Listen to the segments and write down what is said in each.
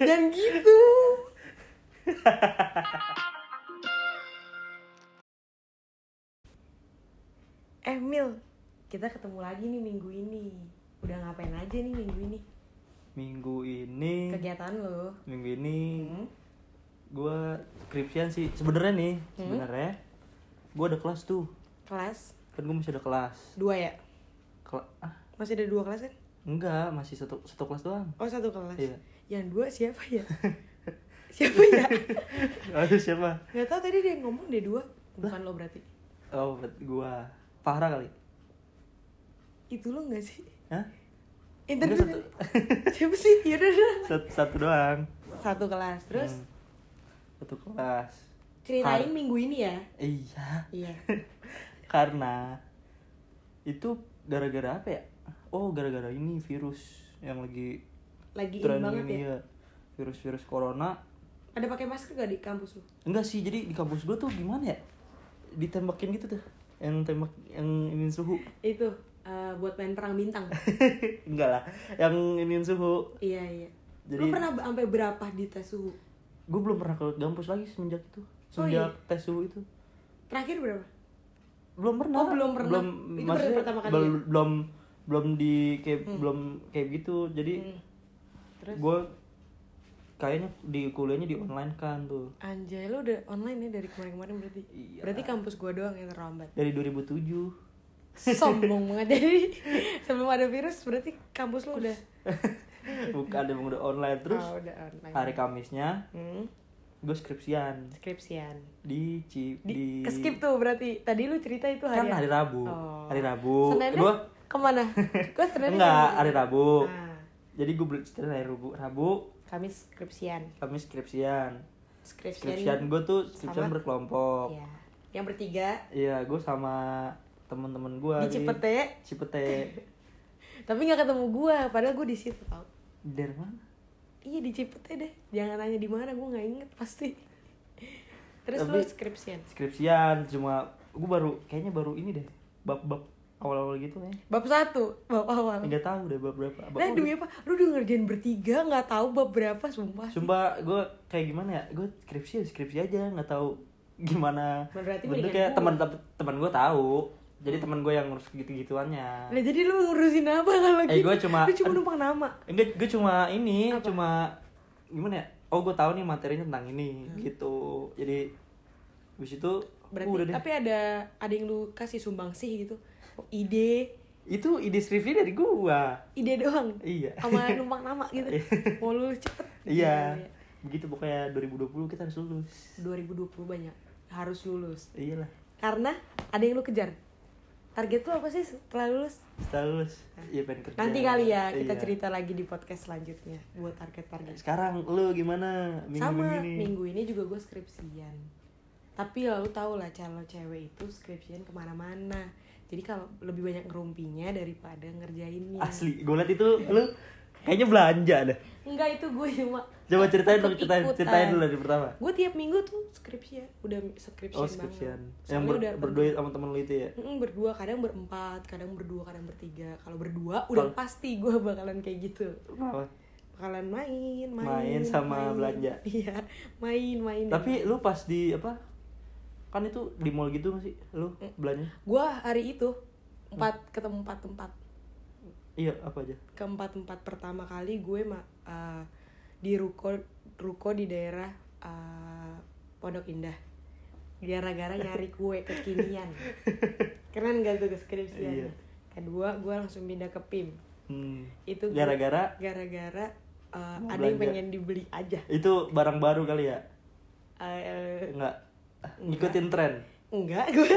Jangan gitu. Emil, Eh, kita ketemu lagi nih minggu ini. Udah ngapain aja nih minggu ini? Minggu ini, Kegiatan lo? minggu ini Hmm? gue skripsian sih. Sebenarnya nih, Hmm. sebenarnya gue ada kelas tuh. Kelas Kan gue masih ada kelas. dua ya? Kela- ah, Masih ada dua kelas kan? enggak, masih satu satu kelas doang. Oh satu kelas. Iya. Yang dua siapa ya? siapa ya? Aduh siapa? Gak tau tadi dia ngomong dia dua. Bukan lo berarti. Oh, berarti gue Fahra kali. Itu lo gak sih? Hah? Interview satu. siapa sih? Yaudah, udah. Sat- satu doang. Satu kelas. Terus Hmm. satu kelas. ceritain Har- minggu ini ya? Iya. Iya. karena itu gara-gara apa ya oh gara-gara ini virus yang lagi Lagi in tren banget ya. ini ya virus-virus corona Ada pakai masker gak di kampus lu? enggak sih jadi di kampus gua tuh gimana ya ditembakin gitu tuh yang tembak yang ingin suhu Itu eh, buat main perang bintang. enggak lah yang ingin suhu iya iya. lu Jadi- pernah b- sampai berapa di tes suhu? gue belum pernah ke kampus lagi semenjak itu Oh, semenjak iya? tes suhu itu Terakhir berapa? belum pernah Oh, belum pernah. belum Itu baru maksudnya pertama kali ya? bel- belum belum di kayak belum kayak gitu jadi Hmm. Terus? gue kayaknya di kuliahnya di online kan tuh Anjay, lu udah online ya dari kemarin-kemarin berarti? Iya. Berarti kampus gua doang yang terlambat. dari 2007 Sombong banget jadi sebelum ada virus berarti kampus lu udah bukan emang udah online terus Ah, udah online. hari Kamisnya Hmm, gue skripsian skripsian. di Ci- Di, di, Keskip tuh berarti. Tadi lu cerita itu kan hari hari Rabu Oh. hari Rabu Seninnya gue kemana? Gue sebenarnya enggak hari Rabu Ah, jadi gue beli skripsian hari Rabu Rabu kami skripsian. kami skripsian Skripsian. skripsian gue tuh skripsian sama- berkelompok Iya. Yang bertiga Iya, gue sama temen-temen gue di Cipete, Cipete. tapi nggak ketemu gua, padahal gua di situ tau. Dari mana? Iya di Cipete deh. Jangan nanya di mana, gua nggak inget pasti. Terus lu Tapi- skripsian. Skripsian, cuma gue baru kayaknya baru ini deh bab-bab awal-awal gitu ya. Bab satu, bab awal. Enggak tahu deh bab berapa. Bab Nah, awal. demi apa? Lu udah ngerjain bertiga, nggak tahu bab berapa, sumpah. Sumpah gue kayak gimana ya? Gue skripsi ya skripsi aja, nggak tahu gimana. Berarti mendingan Bentuknya teman teman gue tahu. Jadi teman gue yang ngurus gitu-gituannya. Nah, jadi lu ngurusin apa kalau Eh, gitu? gua cuma- Lu cuma numpang nama. Enggak, gue cuma ini, cuma gimana ya? Oh, gue tahu nih materinya tentang ini gitu. Jadi habis itu Hmm. Berarti, udah deh. tapi ada ada yang lu kasih sumbangsih gitu. Ide, Itu ide skripsi dari gua. ide doang. Iya. Sama numpang nama gitu. Mau lu cepet. Iya. Begitu pokoknya 2020 kita harus lulus. 2020 banyak harus lulus. Iyalah. Karena ada yang lu kejar. Target lu apa sih setelah lulus? Setelah lulus, iya pengen kerja. Nah. Nanti kali ya kita Iya. cerita lagi di podcast selanjutnya buat target-target. Sekarang lu gimana? gitu. Sama ini? minggu ini juga gue skripsian. Tapi ya lu tau lah calon cewek itu skripsian kemana-mana. Jadi kalau lebih banyak ngerumpinya daripada ngerjainnya. Asli, gue liat itu lu kayaknya belanja dah. Enggak itu gue cuma Coba ceritain dulu, Ikut-ikutan. ceritain, ceritain dulu dari pertama. Gue tiap minggu tuh skripsian, udah skripsian Oh, banget. skripsian. Soalnya Yang ber- udah berdua sama temen lu itu ya? Mm, berdua kadang berempat kadang berdua kadang bertiga kalau berdua udah Kalau- pasti gue bakalan kayak gitu Kenapa? bakalan main main Main main. sama belanja. iya main main Tapi lu pas di apa? Kan itu di mall gitu gak sih? Lu Eh. belanja? gue hari itu Hmm. empat ketemu empat tempat Iya, apa aja? keempat tempat pertama kali gue ma- eh, di ruko ruko di daerah eh, Pondok Indah gara-gara nyari kue kekinian keren gak tuh Iya. deskripsinya kedua gue langsung pindah ke PIM Hmm. itu gua- Gara-gara gara-gara uh, Mau ada yang belanja. pengen dibeli aja itu barang baru kali ya? Eh, eh, Enggak. Ngikutin tren. enggak gue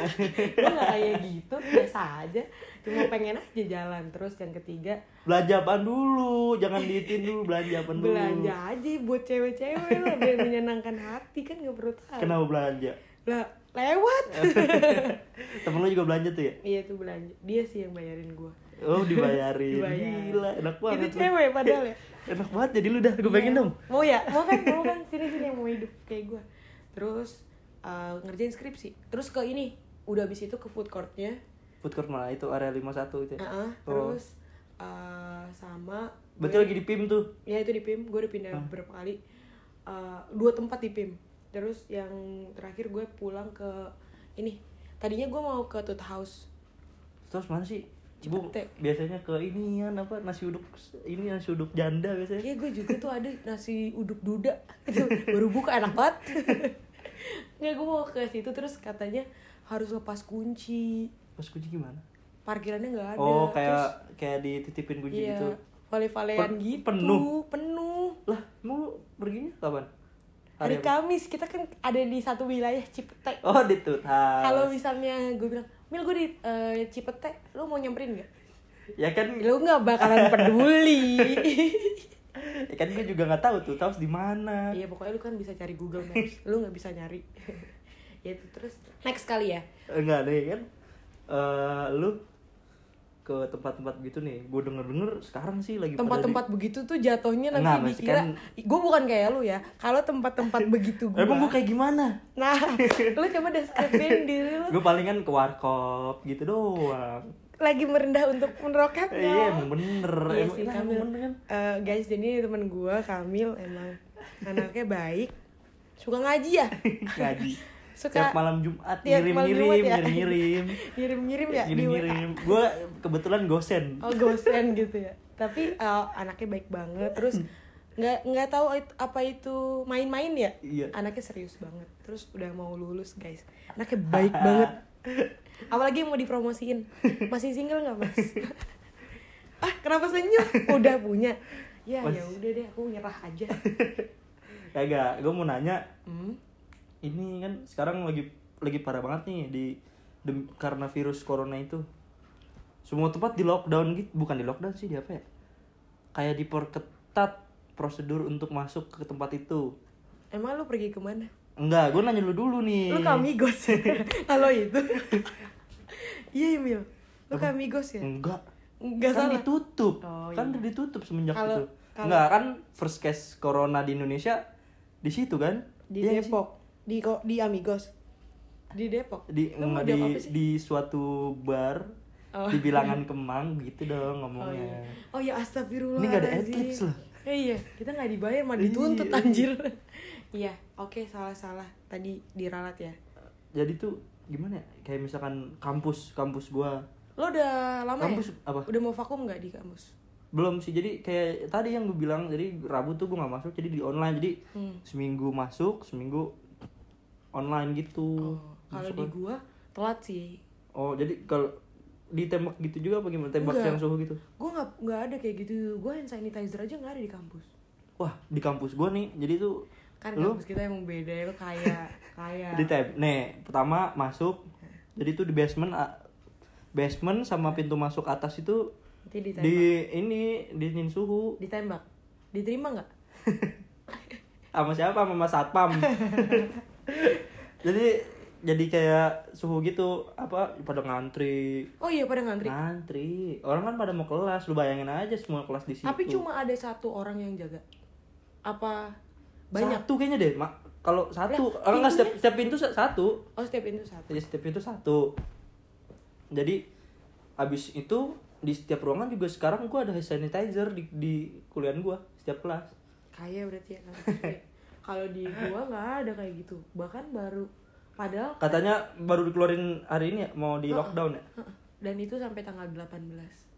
gue nggak kayak gitu biasa aja cuma pengen aja jalan terus yang ketiga belanja apaan dulu jangan diitin dulu belanja apaan dulu belanja aja buat cewek-cewek lah biar menyenangkan hati kan nggak perlu tahu kenapa belanja lah lewat temen lu juga belanja tuh ya iya tuh belanja dia sih yang bayarin gue oh dibayarin Dibayar. gila enak itu banget lu. cewek padahal ya enak banget jadi lu dah gue pengen dong mau ya mau kan mau kan sini sini yang mau hidup kayak gue terus eh, ngerjain skripsi terus ke ini udah abis itu ke food courtnya food court mana itu area 51 itu ya? Heeh, Oh. terus eh, sama Berarti lagi di Ah. PIM tuh. ya itu di PIM gue udah pindah berapa kali Eh, dua tempat di PIM terus yang terakhir gue pulang ke ini tadinya gue mau ke Tut House Terus mana sih? Ibu Cipete. biasanya ke ini kan apa nasi uduk ini nasi uduk janda biasanya. ya gue juga tuh ada nasi uduk duda itu baru buka enak banget nggak gue mau ke situ terus katanya harus lepas kunci Pas kunci gimana? parkirannya nggak ada oh, kayak terus kayak dititipin kunci iya gitu. vale-valean Pen- gitu penuh. penuh Lah, mau lu perginya kapan? hari apa? Kamis kita kan ada di satu wilayah Cipete Oh, di Tut House. kalau misalnya gue bilang mil gue di eh, Cipete lu mau nyamperin nggak ya kan lu nggak bakalan peduli ya kan gue juga nggak tahu Tut House di mana. iya pokoknya lu kan bisa cari Google Maps lu nggak bisa nyari ya itu terus next kali ya Enggak deh kan. Eh, lu ke tempat-tempat gitu nih. Gue denger-denger sekarang sih lagi pada di- tempat-tempat begitu tuh jatuhnya nanti Enggak, Gitu, maksudnya dikira kan- gue bukan kayak lu ya kalau tempat-tempat begitu gue Emang gue kayak gimana? nah lu coba deskripsiin diri lu Gue palingan ke warkop gitu doang. lagi merendah untuk meneroketnya Eh, Iya, emang bener. Iya emang, sih, nah, Kamil. emang bener kan? Eh, guys, jadi temen gue Kamil emang anaknya baik, suka ngaji ya, Ngaji. suka Tiap malam Jumat tiap ngirim-ngirim, malam Jumat ya. ngirim-ngirim. ngirim-ngirim ya di WA. Ngirim-ngirim. Gue kebetulan gosen. Oh gosen gitu ya. Tapi eh, anaknya baik banget. Terus Hmm. nggak nggak tahu it- apa itu main-main ya. Iya. Anaknya serius banget. Terus udah mau lulus guys. Anaknya baik banget. Apalagi yang mau dipromosiin. Masih single nggak mas? ah kenapa senyum? Udah punya. Ya Mas- ya udah deh aku nyerah aja. Kagak, gue mau nanya Hmm. ini kan sekarang lagi lagi parah banget nih di dem- karena virus corona itu semua tempat di lockdown gitu bukan di lockdown sih di apa ya kayak diperketat prosedur untuk masuk ke tempat itu Emang lu pergi kemana? enggak gue nanya lu dulu nih Lu kamigos. Halo itu. Iya Emil. Lu kamigos ya? enggak Enggak Hmm. kan salah. ditutup Oh, kan udah ditutup semenjak Kalau- itu kalau- enggak kan first case corona di Indonesia di situ kan di Iya nggak sih? Depok di ko- di Amigos di Depok di Lu mau enggak, di, jawab apa sih? di suatu bar Oh. di bilangan Kemang gitu oh dong ngomongnya iya oh ya astagfirullah Ini nggak ada adlibs loh. Eh, iya kita nggak dibayar malah dituntut Iya. anjir iya oke salah salah tadi diralat ya jadi tuh gimana ya kayak misalkan kampus kampus gua lo udah lama kampus ya apa udah mau vakum nggak di kampus belum sih jadi kayak tadi yang gue bilang jadi rabu tuh gua nggak masuk jadi di online jadi Hmm. seminggu masuk seminggu online gitu oh, kalau di Masuknya. gua telat sih oh jadi kalau ditembak gitu juga apa gimana tembak Enggak. yang suhu gitu gua nggak nggak ada kayak gitu gua hand sanitizer aja nggak ada di kampus wah di kampus gua nih jadi tuh kan Lu? kampus kita emang beda ya lo kaya kaya di tab nih pertama masuk jadi tuh di basement a- basement sama pintu masuk atas itu nanti ditembak di ini di suhu ditembak diterima nggak sama siapa sama mas satpam jadi jadi kayak suhu gitu apa pada ngantri oh iya pada Nah, ngantri ngantri orang kan pada mau kelas lu bayangin aja semua kelas di situ Tapi cuma ada satu orang yang jaga. Apa banyak? satu kayaknya deh mak kalau satu Lah, iya. orang nggak setiap, pintunya? setiap pintu sa- satu Oh, setiap pintu satu. jadi setiap pintu satu jadi abis itu di setiap ruangan juga sekarang gua ada hand sanitizer di, di kuliahan gua setiap kelas Kaya berarti ya. kampus gue. Kalau di gua nggak ada kayak gitu. Bahkan baru padahal katanya baru dikeluarin hari ini ya mau di lockdown ya Heeh. dan itu sampai tanggal 18.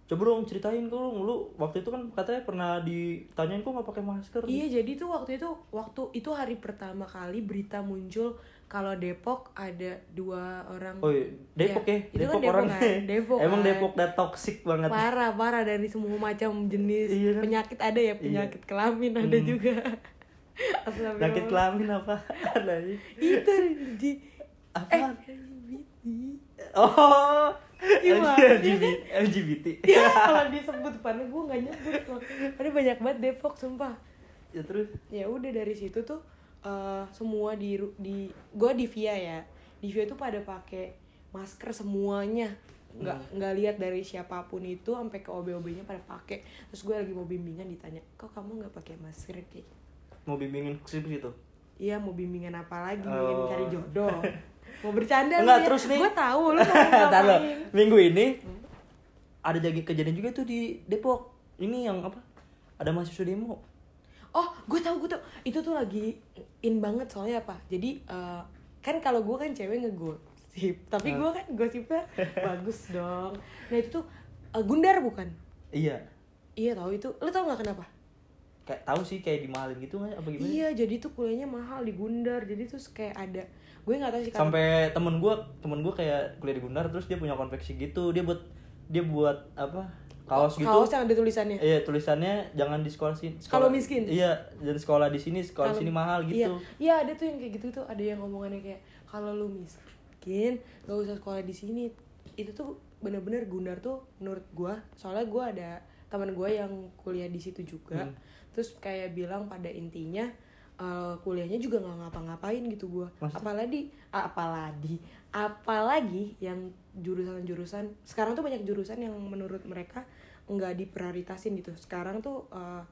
Coba dong ceritain kok lu, lu waktu itu kan katanya pernah ditanyain kok nggak pakai masker. Iya, jadi tuh waktu itu waktu itu hari pertama kali berita muncul kalau Depok ada dua orang Oh iya, Depok Iya, itu kan ya, Depok Depok orang. kan, Depok Emang kan. Depok udah toxic banget. parah parah dari semua macam jenis Iya kan? penyakit ada ya penyakit kelamin ada juga. Sakit Astagfirullah. kelamin apa? Ada ini. Itu di Apa? eh LGBT. Oh. Gimana? LGBT. LGBT. ya kalau disebut padahal gue nggak nyebut loh ada banyak banget Depok sumpah ya terus ya udah dari situ tuh eh, semua di ru- di gue di via ya di via tuh pada pakai masker semuanya nggak nggak lihat dari siapapun itu sampai ke ob ob nya pada pakai terus gue lagi mau bimbingan ditanya kok kamu nggak pakai masker kayak mau bimbingin ke situ. iya mau bimbingan apa lagi Oh. bimbingan cari jodoh mau bercanda Enggak, terus nih. gue tahu lu mau Entar lo. ngapain Minggu ini ada jadi kejadian juga itu di Depok ini yang apa ada mahasiswa demo Oh, gue tau, gue tau. Itu tuh lagi in banget soalnya apa? Jadi eh, kan kalau gue kan cewek ngegosip, tapi Ah. gue kan gosipnya bagus dong. Nah itu tuh eh, Gundar bukan? iya Iya tahu itu. Lo tau nggak kenapa? kayak tahu sih kayak dimahalin gitu nggak apa gimana Iya, jadi tuh kuliahnya mahal di Gundar. Jadi terus kayak ada gue nggak tahu sih karena sampai temen gue temen gue kayak kuliah di Gundar terus dia punya konveksi gitu dia buat dia buat apa kaos gitu kaos yang ada tulisannya. Iya tulisannya jangan di sekolah sini. Kalau sekolah- miskin. Iya dan sekolah di sini sekolah di sini mahal Iya, gitu. iya ada tuh yang kayak gitu tuh ada yang ngomongannya kayak kalau lu miskin gak usah sekolah di sini. Itu tuh bener-bener Gundar tuh menurut gua soalnya gua ada teman gua yang kuliah di situ juga. Terus kayak bilang pada intinya eh, kuliahnya juga nggak ngapa-ngapain gitu gua. Maksudnya? Apalagi ah, apalagi apalagi yang jurusan-jurusan sekarang tuh banyak jurusan yang menurut mereka nggak diprioritasin gitu. Sekarang tuh eh,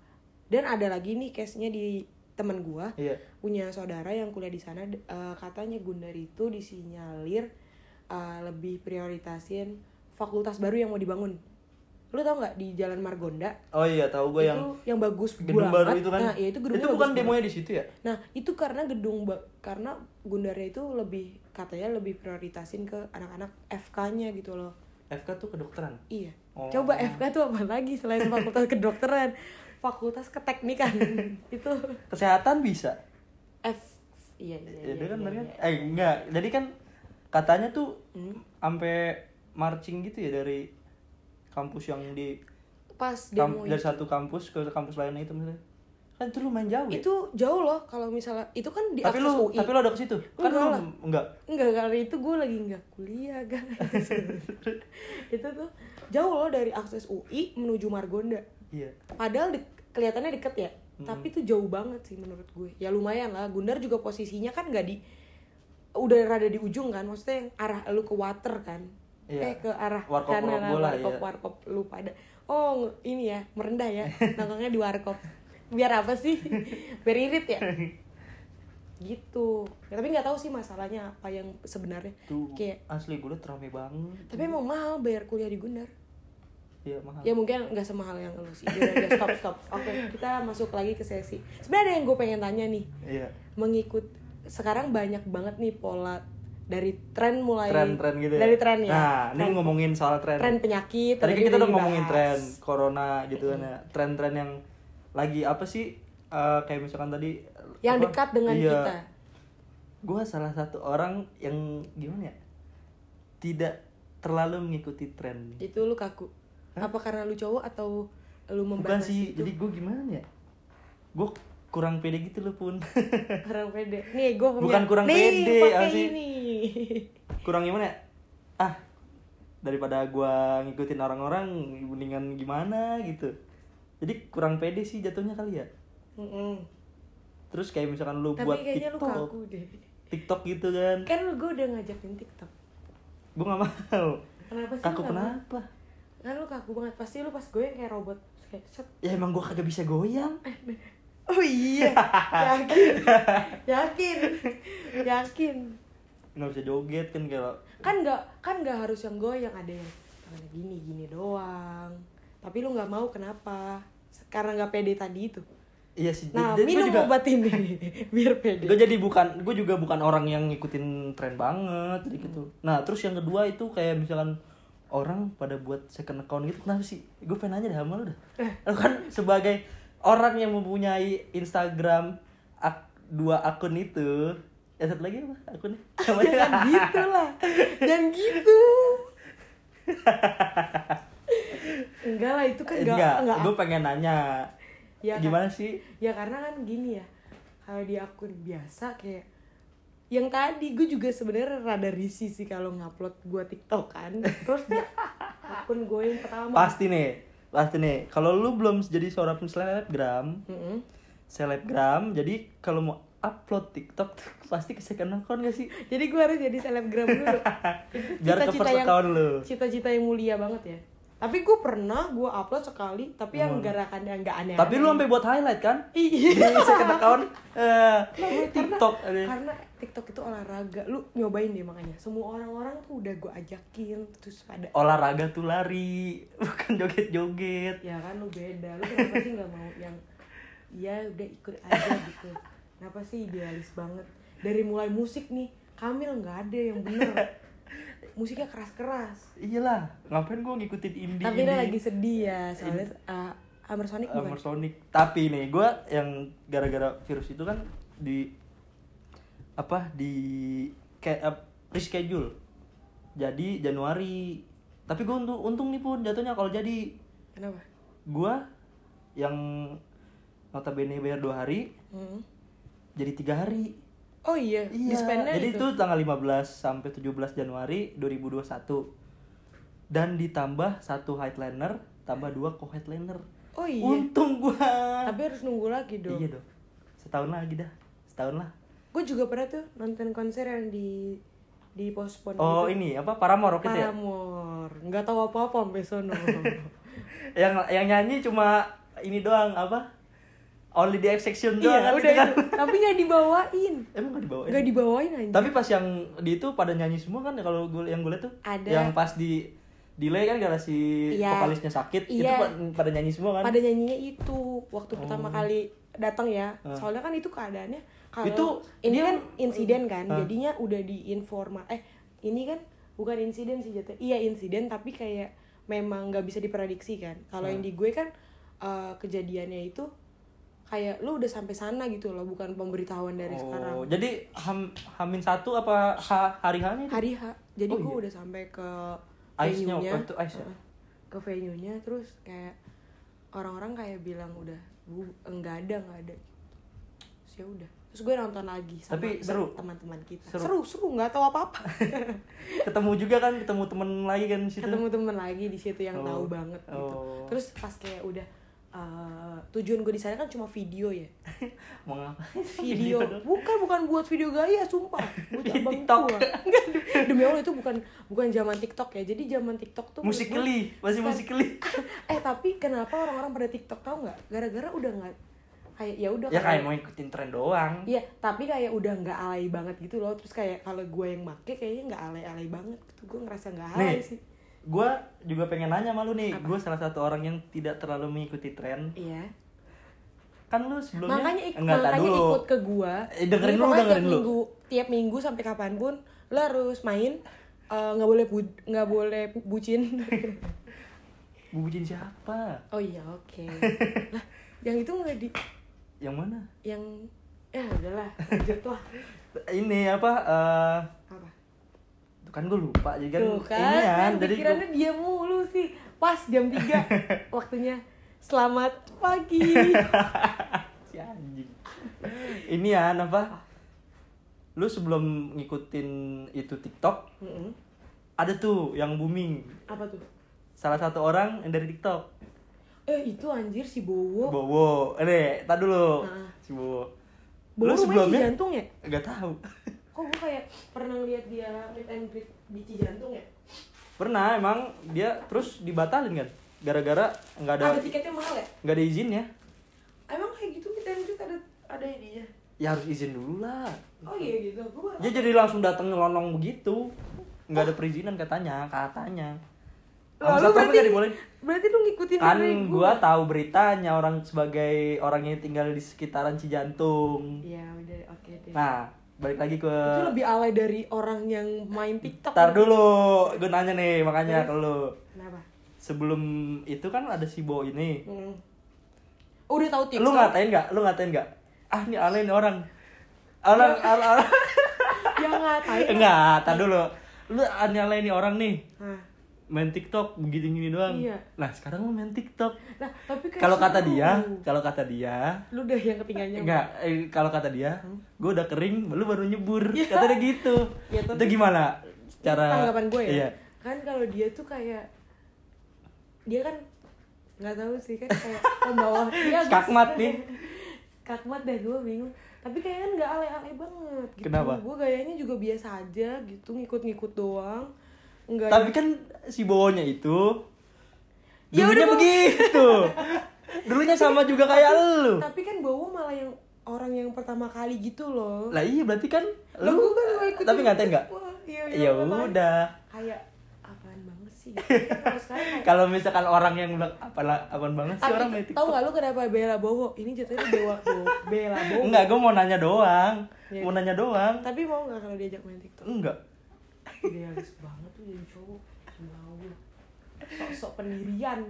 dan ada lagi nih case-nya di teman gua Iya. punya saudara yang kuliah di sana d- eh, katanya Gundar itu disinyalir eh, lebih prioritasin fakultas baru yang mau dibangun. Lu tau nggak di Jalan Margonda Oh iya tahu gue yang itu yang bagus gedung banget. baru itu kan. Nah, iya, itu gedungnya bukan bagus demonya di situ ya? banget. Nah, itu karena gedung ba- karena Gundarnya itu lebih katanya lebih prioritasin ke anak-anak FK-nya gitu loh. FK tuh kedokteran. Iya. Oh. Coba FK tuh apa lagi selain fakultas kedokteran? Fakultas keteknikan. itu Kesehatan bisa. F iya iya. Ya, iya, dia kan iya, bener kan? iya. Eh enggak. Jadi kan katanya tuh Hmm. sampai marching gitu ya dari kampus yang di Pas kamp- demo dari satu kampus ke kampus lainnya itu misalnya. Kan itu lumayan jauh ya. itu jauh loh kalau misalnya itu kan di tapi akses lu UI tapi lu ada ke situ. Kan Enggak lu lah. enggak. enggak kali itu gue lagi nggak kuliah guys itu tuh jauh loh dari akses UI menuju Margonda Iya. padahal dek- kelihatannya deket ya tapi itu jauh banget sih menurut gue ya lumayan lah Gundar juga posisinya kan nggak di udah rada di ujung kan maksudnya yang arah lu ke water kan Iya. eh ke arah Warkop- kanan warkop lah, warkop iya. warkop lu pada oh nge- ini ya merendah ya nongkrongnya di warkop biar apa sih biar irit ya gitu ya, tapi nggak tahu sih masalahnya apa yang sebenarnya Tuh kayak asli gue liat rame banget. tapi emang mahal bayar kuliah di Gundar Iya mahal. ya mungkin nggak semahal yang lu sih Udah, udah, stop stop oke kita masuk lagi ke sesi sebenarnya ada yang gue pengen tanya nih Iya. mengikut sekarang banyak banget nih pola dari tren mulai Tren-tren gitu ya. dari tren ya Nah, ini Tren- ngomongin soal tren. tren penyakit Tadi kan tadi kita udah udah ngomongin tren dibahas. corona gitu kan ya. Tren-tren yang lagi apa sih? eh, kayak misalkan tadi yang apa? dekat dengan Iya. kita Gua salah satu orang yang gimana ya? Tidak terlalu mengikuti tren. itu lu kaku apa karena lu cowok atau lu Bukan membatasi sih, jadi gue gimana ya? Gue kurang pede gitu loh pun. kurang pede nih gue Bukan kurang nih, pede, pakai apa sih? ini kurang gimana ya? Ah, daripada gua ngikutin orang-orang mendingan gimana gitu. Jadi kurang pede sih jatuhnya kali ya. Mm-mm. Terus kayak misalkan lu tapi buat kayaknya lu TikTok, kaku deh TikTok gitu kan. kan lu gue udah ngajakin tiktok Gua nggak mau. kenapa sih Kaku lu nggak mau? kenapa? kan lu kaku banget pasti lu pas goyang kayak robot kayak set Ya emang gua kagak bisa goyang. oh iya yakin yakin yakin Nggak bisa joget kan kalau kan nggak kan nggak harus yang goyang ada yang tangannya gini gini doang tapi lu nggak mau kenapa karena nggak pede tadi itu Iya sih. nah jadi gua minum juga, obat ini biar pede Gue jadi bukan, gue juga bukan orang yang ngikutin tren banget jadi gitu. Hmm. Nah terus yang kedua itu kayak misalkan orang pada buat second account gitu kenapa sih? Gue pengen aja dah sama lu dah. Eh. Lu kan sebagai orang yang mempunyai Instagram ak- dua akun itu, ya satu lagi apa akunnya? Namanya? jangan gitu lah jangan gitu enggak lah itu kan enggak Enggak, enggak gue pengen nanya Ya, Kak. gimana sih? ya karena kan gini ya kalau di akun biasa kayak yang tadi gue juga sebenarnya rada risih sih kalau ngupload gue TikTok kan terus di akun gue yang pertama Pasti nih, pasti nih. Kalau lu belum jadi seorang selebgram, Mm-mm. selebgram jadi kalau mau upload TikTok tuh pasti ke second account gak sih jadi gue harus jadi selebgram dulu Itu cita-cita biar ke first yang- account lu cita-cita yang mulia banget ya tapi gue pernah gue upload sekali tapi yang gerakan yang nggak aneh Hmm. Tapi lu sampai buat highlight kan? iya Bisa kata kawan eh TikTok ada. ya? karena TikTok itu olahraga lu nyobain deh makanya semua orang-orang tuh udah gue ajakin terus pada Olahraga tuh lari, bukan joget-joget. ya kan lu beda lu kenapa sih nggak mau yang ya udah ikut aja gitu kenapa sih idealis banget dari mulai musik nih Kamil nggak ada yang bener musiknya keras-keras Iyalah, ngapain gua ngikutin indie? Eh, tapi dia lagi sedih ya soalnya uh, Amersonic bukan Sonic. Tapi nih gua yang gara-gara virus itu kan di apa di kayak eh, reschedule. Jadi Januari. Tapi gua untung, untung nih pun jatuhnya kalau jadi kenapa gua yang notabene bayar dua hari Hmm. jadi tiga hari oh iya, iya dispennya jadi itu. itu. tanggal 15 sampai 17 Januari 2021 dan ditambah satu headliner tambah dua co-headliner oh iya untung gua tapi harus nunggu lagi dong iya dong setahun lagi dah setahun lah gue juga pernah tuh nonton konser yang di di pospon oh gitu. ini apa Paramore Rocket ya Paramore nggak tahu apa apa sampai sono yang yang nyanyi cuma ini doang apa only the exception doang iya kan udah itu kan? itu. tapi nggak dibawain emang gak dibawain nggak dibawain aja Tapi pas yang di itu pada nyanyi semua kan ya kalau gue yang gue liat tuh. Ada. Yang pas di delay kan karena si Iya. vokalisnya sakit itu Iya. pa- pada nyanyi semua kan. pada nyanyinya itu waktu pertama Oh. kali datang ya soalnya kan itu keadaannya kalau Ah. Itu ini dia- kan insiden kan Ah. jadinya udah diinforma eh ini kan bukan insiden sih jatuh iya insiden tapi kayak memang nggak bisa diprediksi kan kalau Ah. yang di gue kan eh, kejadiannya itu kayak lo udah sampai sana gitu loh bukan pemberitahuan dari Oh, sekarang jadi ham, Hamin satu apa ha- hari hanya itu? hari H jadi Oh, gue iya. udah sampai ke Ice-nya venue-nya. waktu itu ice ya? Heeh. ke venue nya terus kayak orang-orang kayak bilang udah gue enggak ada nggak ada terus ya udah terus gue nonton lagi sama Tapi seru. teman-teman kita Seru. seru seru nggak tahu apa apa Ketemu juga kan, ketemu temen lagi kan di situ. ketemu temen lagi di situ yang Oh. tahu banget gitu Oh. terus pas kayak udah eh, tujuan gue di sana kan cuma video ya Mau ngapain? video bukan bukan buat video gaya sumpah buat Di abang Iya, TikTok. gua. Enggak, demi allah itu bukan bukan zaman tiktok ya jadi zaman tiktok tuh menurut gua- Musikly, masih Bukan. musikly. eh tapi kenapa orang-orang pada TikTok tahu nggak? Gara-gara udah nggak kayak ya udah ya kayak mau ikutin tren doang. Iya, tapi kayak udah nggak alay banget gitu loh. Terus kayak kalau gue yang make kayaknya nggak alay-alay banget gitu. Gue ngerasa nggak alay Nih. sih. Gue juga pengen nanya malu nih, Apa? gue salah satu orang yang tidak terlalu mengikuti tren. Iya. Kan lu sebelumnya Makanya, ik- Enggak, tar makanya dulu. ikut ke gue. Eh, dengerin Jadi dulu, pokoknya dengerin tiap dulu. Minggu, tiap minggu sampai kapanpun lo harus main. Eh, nggak boleh bu- nggak boleh bu- bucin. Bubucin siapa? oh iya oke. Lah, yang itu nggak di Yang mana? yang ya udahlah lanjut lah Ini apa? eh apa tuh kan gue lupa jadi kan Tuh kan, ini kan, kan jadi pikirannya dia mulu sih. Pas jam 3 waktunya. Selamat pagi. gua- si anjing. ini ya apa? Lu sebelum ngikutin itu TikTok Mm-mm. ada tuh yang booming. Apa tuh? Salah satu orang yang dari TikTok. Eh itu anjir si Bowo. Bowo. Eh, tak dulu. Nah. Si Bowo. Bowo Lu rumahnya sebelumnya Cijantung ya? nggak tahu. Kok gue kayak pernah lihat dia meet and greet di Cijantung ya? Pernah emang dia terus dibatalin kan gara-gara nggak Ada ada tiketnya mahal ya? nggak ada izinnya. Emang kayak gitu meet and greet ada ada ininya? Ya harus izin dulu lah. Oh iya gitu. Gue baru Dia jadi langsung datang ngelonong begitu. nggak ada perizinan katanya, katanya. Lalu Sama satpam berarti- nggak dibolehin. Berarti lu ngikutin Kan dari gua tahu beritanya orang sebagai orang yang tinggal di sekitaran Cijantung. Iya udah oke deh. Nah, balik lagi ke itu lebih alay dari orang yang main TikTok. Ntar dulu, gue nanya nih makanya ke lu. Kenapa? Sebelum itu kan ada si Bo ini. Mm. Oh, Udah tahu TikTok. Lu ngatain nggak? Lu ngatain nggak? Ah, ini alay nih orang. Iya. Orang, orang, orang. yang ngatain Enggak, tar dulu. Lu ah, ini alay nih orang nih. Hah. main TikTok begitu gini doang. Iya. Nah sekarang lu main TikTok. nah tapi kayak Kalau kata seru. Iya. dia, kalau kata dia, lu udah yang ketinggalan enggak. eh, kalau kata dia, Hmm? gue udah kering, lu baru nyebur. Kata dia gitu. Ya, Iya. tapi- Itu gimana? Cara tanggapan gue ya Iya. kan kalau dia tuh kayak dia kan nggak tahu sih kan kayak Iya, pembawa dia agak- Skakmat nih. skakmat dah gue bingung tapi kayaknya kan nggak alay-alay banget gitu. Kenapa? gue gayanya juga biasa aja gitu ngikut-ngikut doang nggak Tapi kan si bowonya itu Ya udah, Dulunya Bowo. begitu. Dulunya sama juga kayak lu. Tapi kan Bowo malah yang orang yang pertama kali gitu loh. Lah iya berarti kan Lah, lu gua kan gak ikutin. tapi ngatain nggak? Wah, iya, iya, Ya ngatain. udah. Kayak apaan banget sih? gitu. Kalau sekarang kayak- Kalau misalkan orang yang bilang apalah apaan banget sih Tapi orang main Tahu TikTok. nggak lu kenapa Bella Bowo? Ini jatuhnya Dewa Bowo. Bella Bowo. Enggak, gue mau nanya doang. Iya. Mau nanya doang. Tapi mau nggak kalau diajak main TikTok? Enggak. Idealis banget tuh jadi cowok. Mau. Sok-sok pendirian.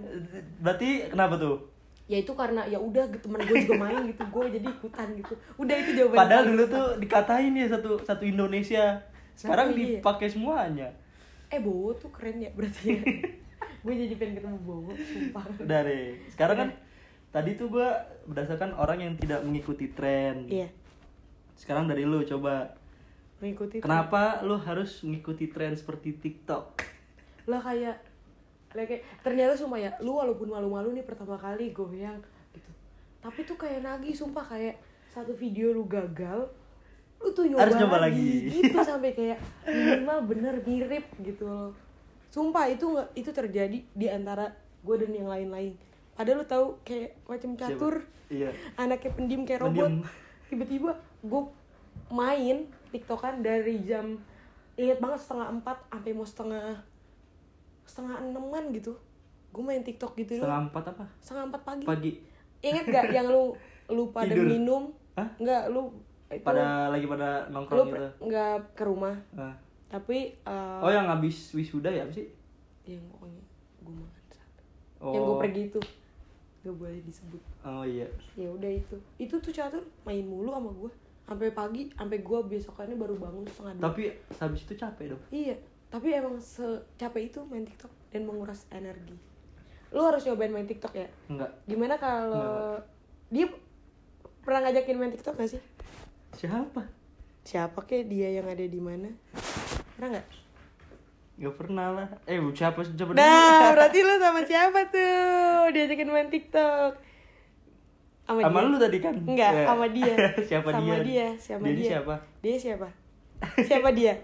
Berarti kenapa tuh? Ya itu karena ya udah temen gue juga main gitu, gue jadi ikutan gitu. Udah itu jawaban. Padahal dulu tuh dikatain ya satu satu Indonesia. Sekarang Kenapa iya? dipakai semuanya. Eh Bowo tuh keren ya berarti. Ya. gue jadi pengen ketemu Bowo, sumpah. Dari sekarang kan Iya. tadi tuh gue berdasarkan orang yang tidak mengikuti tren. Iya, Sekarang dari lu coba. mengikuti. Kenapa lu harus mengikuti tren seperti TikTok? lah kayak lah kayak ternyata sumpah ya lu walaupun malu-malu nih pertama kali goyang gitu tapi tuh kayak nagih sumpah kayak satu video lu gagal lu tuh nyoba, Harus nyoba lagi. gitu sampai kayak minimal bener mirip gitu loh sumpah itu nggak- itu terjadi di antara gue dan yang lain-lain padahal lu tahu kayak macam Siapa? catur Iya. anaknya pendim kayak robot Pendiam. tiba-tiba gue main tiktokan dari jam inget banget setengah empat sampai mau setengah setengah enaman gitu gue main tiktok gitu dulu Setengah empat apa? setengah empat pagi Pagi. inget gak yang lu lu pada Tidur. minum Hah? nggak lu itu Pada lagi pada lu nongkrong gitu. pre- nggak ke rumah Nah. tapi eh, Oh yang habis wisuda ya apa sih? yang pokoknya gue makan sate. Oh. yang gue pergi itu gak boleh disebut Oh iya. ya udah itu itu tuh catur main mulu sama gue sampai pagi sampai gue besokannya baru bangun setengah dua Tapi habis itu capek dong. iya tapi emang secapek itu main tiktok dan menguras energi lu harus nyobain main tiktok ya Enggak. gimana kalau dia pernah ngajakin main tiktok gak sih Siapa? siapa kek dia yang ada di mana pernah nggak Gak pernah lah. Eh siapa siapa nah berarti lu sama siapa tuh diajakin main tiktok sama Sama dia. lu tadi kan? Enggak, Ya. sama dia. siapa sama dia? dia? Sama Dia ini dia. siapa? Dia siapa? Siapa dia?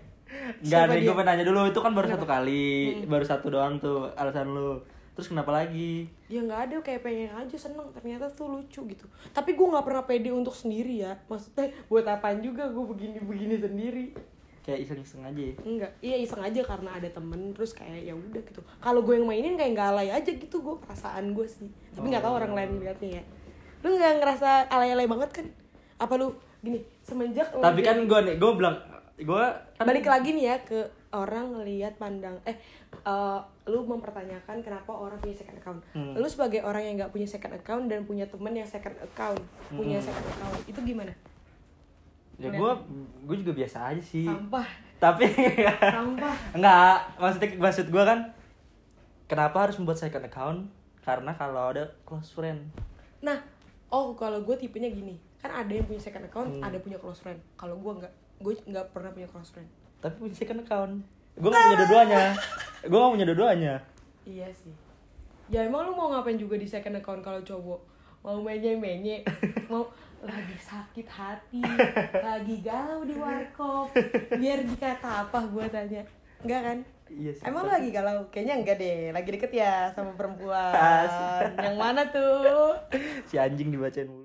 Enggak Siapa ada dia? Hmm. gue nanya dulu itu kan baru satu kali, baru satu doang tuh alasan lu. Terus kenapa lagi? Ya nggak ada kayak pengen aja seneng ternyata tuh lucu gitu. Tapi gue nggak pernah pede untuk sendiri ya. Maksudnya buat apaan juga gue begini-begini sendiri. Kayak iseng-iseng aja ya. Enggak, iya iseng aja karena ada temen terus kayak ya udah gitu. Kalau gue yang mainin kayak nggak alay aja gitu gue perasaan gue sih. Tapi nggak tahu Oh. orang lain liatnya ya. Lu nggak ngerasa alay-alay banget kan? Apa lu gini semenjak lu Tapi Oh, jadi- kan gue nih, gue bilang gue kan balik lagi nih ya ke orang ngelihat pandang eh eh, lu mempertanyakan kenapa orang punya second account lu sebagai orang yang nggak punya second account dan punya temen yang second account punya second account itu gimana ya gue gue juga biasa aja sih. kan? sampah Tapi ya, sampah enggak, maksudnya maksud gue kan kenapa harus membuat second account? Karena kalau ada close friend. nah oh kalau gue tipenya gini kan ada yang punya second account ada punya close friend kalau gue nggak gue nggak pernah punya close friend Tapi punya second account. Gue gak punya dua-duanya. Gue gak punya dua-duanya. iya sih ya emang lu mau ngapain juga di second account kalau cowok mau menye menye mau lagi sakit hati lagi galau di warkop biar dikata apa gue tanya enggak kan Iya sih. Emang lu lagi galau? Kayaknya enggak deh, lagi deket ya sama perempuan Asik. Yang mana tuh? si anjing dibacain mulu.